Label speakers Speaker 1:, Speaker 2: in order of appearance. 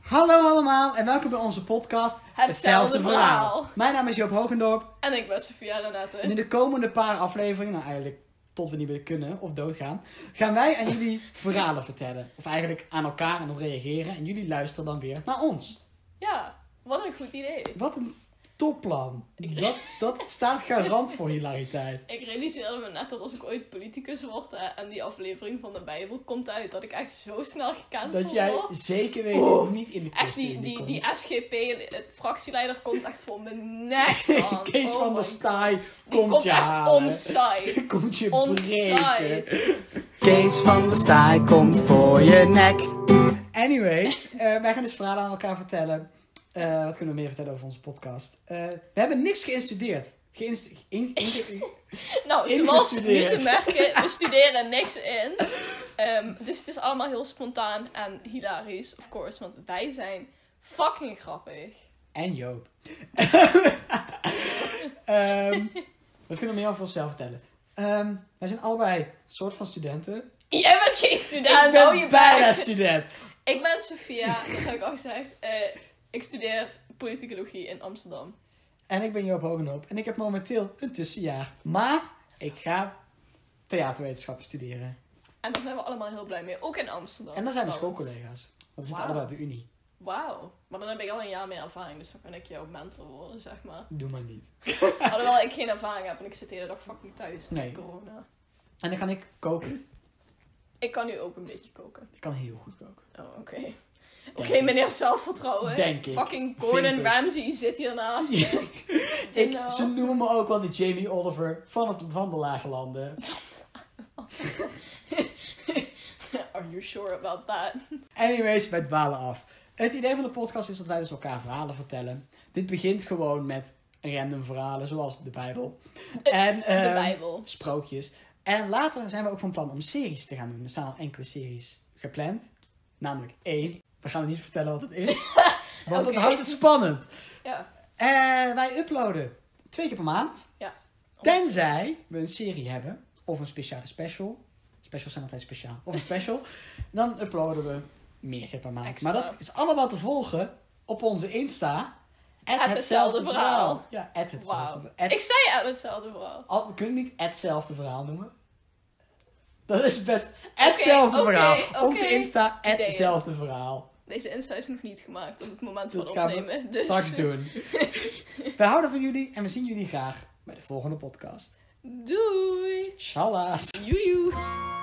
Speaker 1: Hallo allemaal en welkom bij onze podcast Mijn naam is Joop Hogendorp
Speaker 2: En ik ben Sofia
Speaker 1: en
Speaker 2: Renate.
Speaker 1: in de komende paar afleveringen, nou eigenlijk tot we niet meer kunnen of doodgaan, gaan wij aan jullie verhalen vertellen. Of eigenlijk aan elkaar en op reageren en jullie luisteren dan weer naar ons.
Speaker 2: Ja, wat een goed idee.
Speaker 1: Wat een topplan. Dat, dat staat garant voor hilariteit.
Speaker 2: Ik realiseerde me net dat als ik ooit politicus word hè, en die aflevering van de Bijbel komt uit, dat ik echt zo snel gecanceld
Speaker 1: Dat jij
Speaker 2: word.
Speaker 1: zeker weet
Speaker 2: Oeh.
Speaker 1: niet in de
Speaker 2: Oh. Echt,
Speaker 1: kist
Speaker 2: die,
Speaker 1: in
Speaker 2: die,
Speaker 1: komt.
Speaker 2: die SGP-fractieleider komt echt voor mijn nek aan.
Speaker 1: Kees
Speaker 2: Oh
Speaker 1: van der
Speaker 2: my-
Speaker 1: Staaij
Speaker 2: Die
Speaker 1: komt
Speaker 2: komt
Speaker 1: je
Speaker 2: echt
Speaker 1: halen.
Speaker 2: onsite.
Speaker 1: Komt je breken.
Speaker 2: Onsite.
Speaker 1: Kees van der Staaij komt voor je nek. Anyways, eh, wij gaan dus verhalen aan elkaar vertellen. Eh, wat kunnen we meer vertellen over onze podcast? Eh, we hebben niks geïnstudeerd. Geïnst- in- in-
Speaker 2: Nou, zoals nu
Speaker 1: Ingestudeerd.
Speaker 2: te merken, we studeren niks in. Ehm, dus het is allemaal heel spontaan en hilarisch, of course, want wij zijn fucking grappig.
Speaker 1: en Joop. Ehm, wat kunnen we meer over onszelf vertellen? Ehm, wij zijn allebei soort van studenten.
Speaker 2: Jij bent geen student,
Speaker 1: ik ben
Speaker 2: hou je
Speaker 1: bijna
Speaker 2: bek.
Speaker 1: student.
Speaker 2: Ik ben Sophia, dat heb ik al gezegd. Eh, ik studeer politicologie in Amsterdam.
Speaker 1: En ik ben Joop Hogenhoop. En ik heb momenteel een tussenjaar. Maar ik ga theaterwetenschappen studeren.
Speaker 2: En daar zijn we allemaal heel blij mee, ook in Amsterdam.
Speaker 1: En dan zijn we
Speaker 2: Oh, trouwens.
Speaker 1: schoolcollega's. Want we zitten
Speaker 2: Wauw.
Speaker 1: allebei op de unie.
Speaker 2: Wauw, maar dan heb ik al een jaar meer ervaring, dus dan kan ik jouw mentor worden, zeg maar.
Speaker 1: Doe maar niet.
Speaker 2: Alhoewel ik geen ervaring heb en ik zit de hele dag fucking thuis met
Speaker 1: Nee.
Speaker 2: corona.
Speaker 1: En dan kan ik koken.
Speaker 2: Ik kan nu ook een beetje koken.
Speaker 1: Ik kan heel goed koken.
Speaker 2: Oh, oké. Oké,
Speaker 1: ik.
Speaker 2: meneer zelfvertrouwen.
Speaker 1: Denk ik.
Speaker 2: Fucking
Speaker 1: Vind
Speaker 2: Gordon
Speaker 1: ik.
Speaker 2: Ramsay zit hier naast me.
Speaker 1: Ik,
Speaker 2: Dinno.
Speaker 1: ze noemen me ook wel de Jamie Oliver van, het, van de Lage Landen.
Speaker 2: Are you sure about that?
Speaker 1: Anyways, wij dwalen af. Het idee van de podcast is dat wij dus elkaar verhalen vertellen. Dit begint gewoon met random verhalen, zoals de Bijbel. En,
Speaker 2: Eh, De
Speaker 1: ehm,
Speaker 2: Bijbel.
Speaker 1: Sprookjes. En later zijn we ook van plan om series te gaan doen. Er staan al enkele series gepland. Namelijk één. We gaan het niet vertellen wat het is. want dat
Speaker 2: Oké.
Speaker 1: houdt het spannend.
Speaker 2: Ja.
Speaker 1: Eh, wij uploaden twee keer per maand.
Speaker 2: Ja.
Speaker 1: Tenzij we een serie hebben of een speciale special. Specials zijn altijd speciaal. Of een special. dan uploaden we meer keer per maand.
Speaker 2: Extra.
Speaker 1: Maar dat is allemaal te volgen op onze Insta. At
Speaker 2: hetzelfde verhaal.
Speaker 1: Ja, at hetzelfde
Speaker 2: Wauw.
Speaker 1: verhaal. At-
Speaker 2: Ik zei uit hetzelfde verhaal.
Speaker 1: al- we kunnen niet hetzelfde verhaal noemen. Dat is best hetzelfde
Speaker 2: oké,
Speaker 1: verhaal.
Speaker 2: oké.
Speaker 1: Onze Insta,
Speaker 2: Ideeën.
Speaker 1: hetzelfde verhaal.
Speaker 2: Deze insta is nog niet gemaakt op het moment
Speaker 1: Dat
Speaker 2: van
Speaker 1: gaan we
Speaker 2: opnemen. Dus
Speaker 1: Straks doen. we houden van jullie en we zien jullie graag bij de volgende podcast.
Speaker 2: Doei.
Speaker 1: Tjallas!
Speaker 2: Joejoe.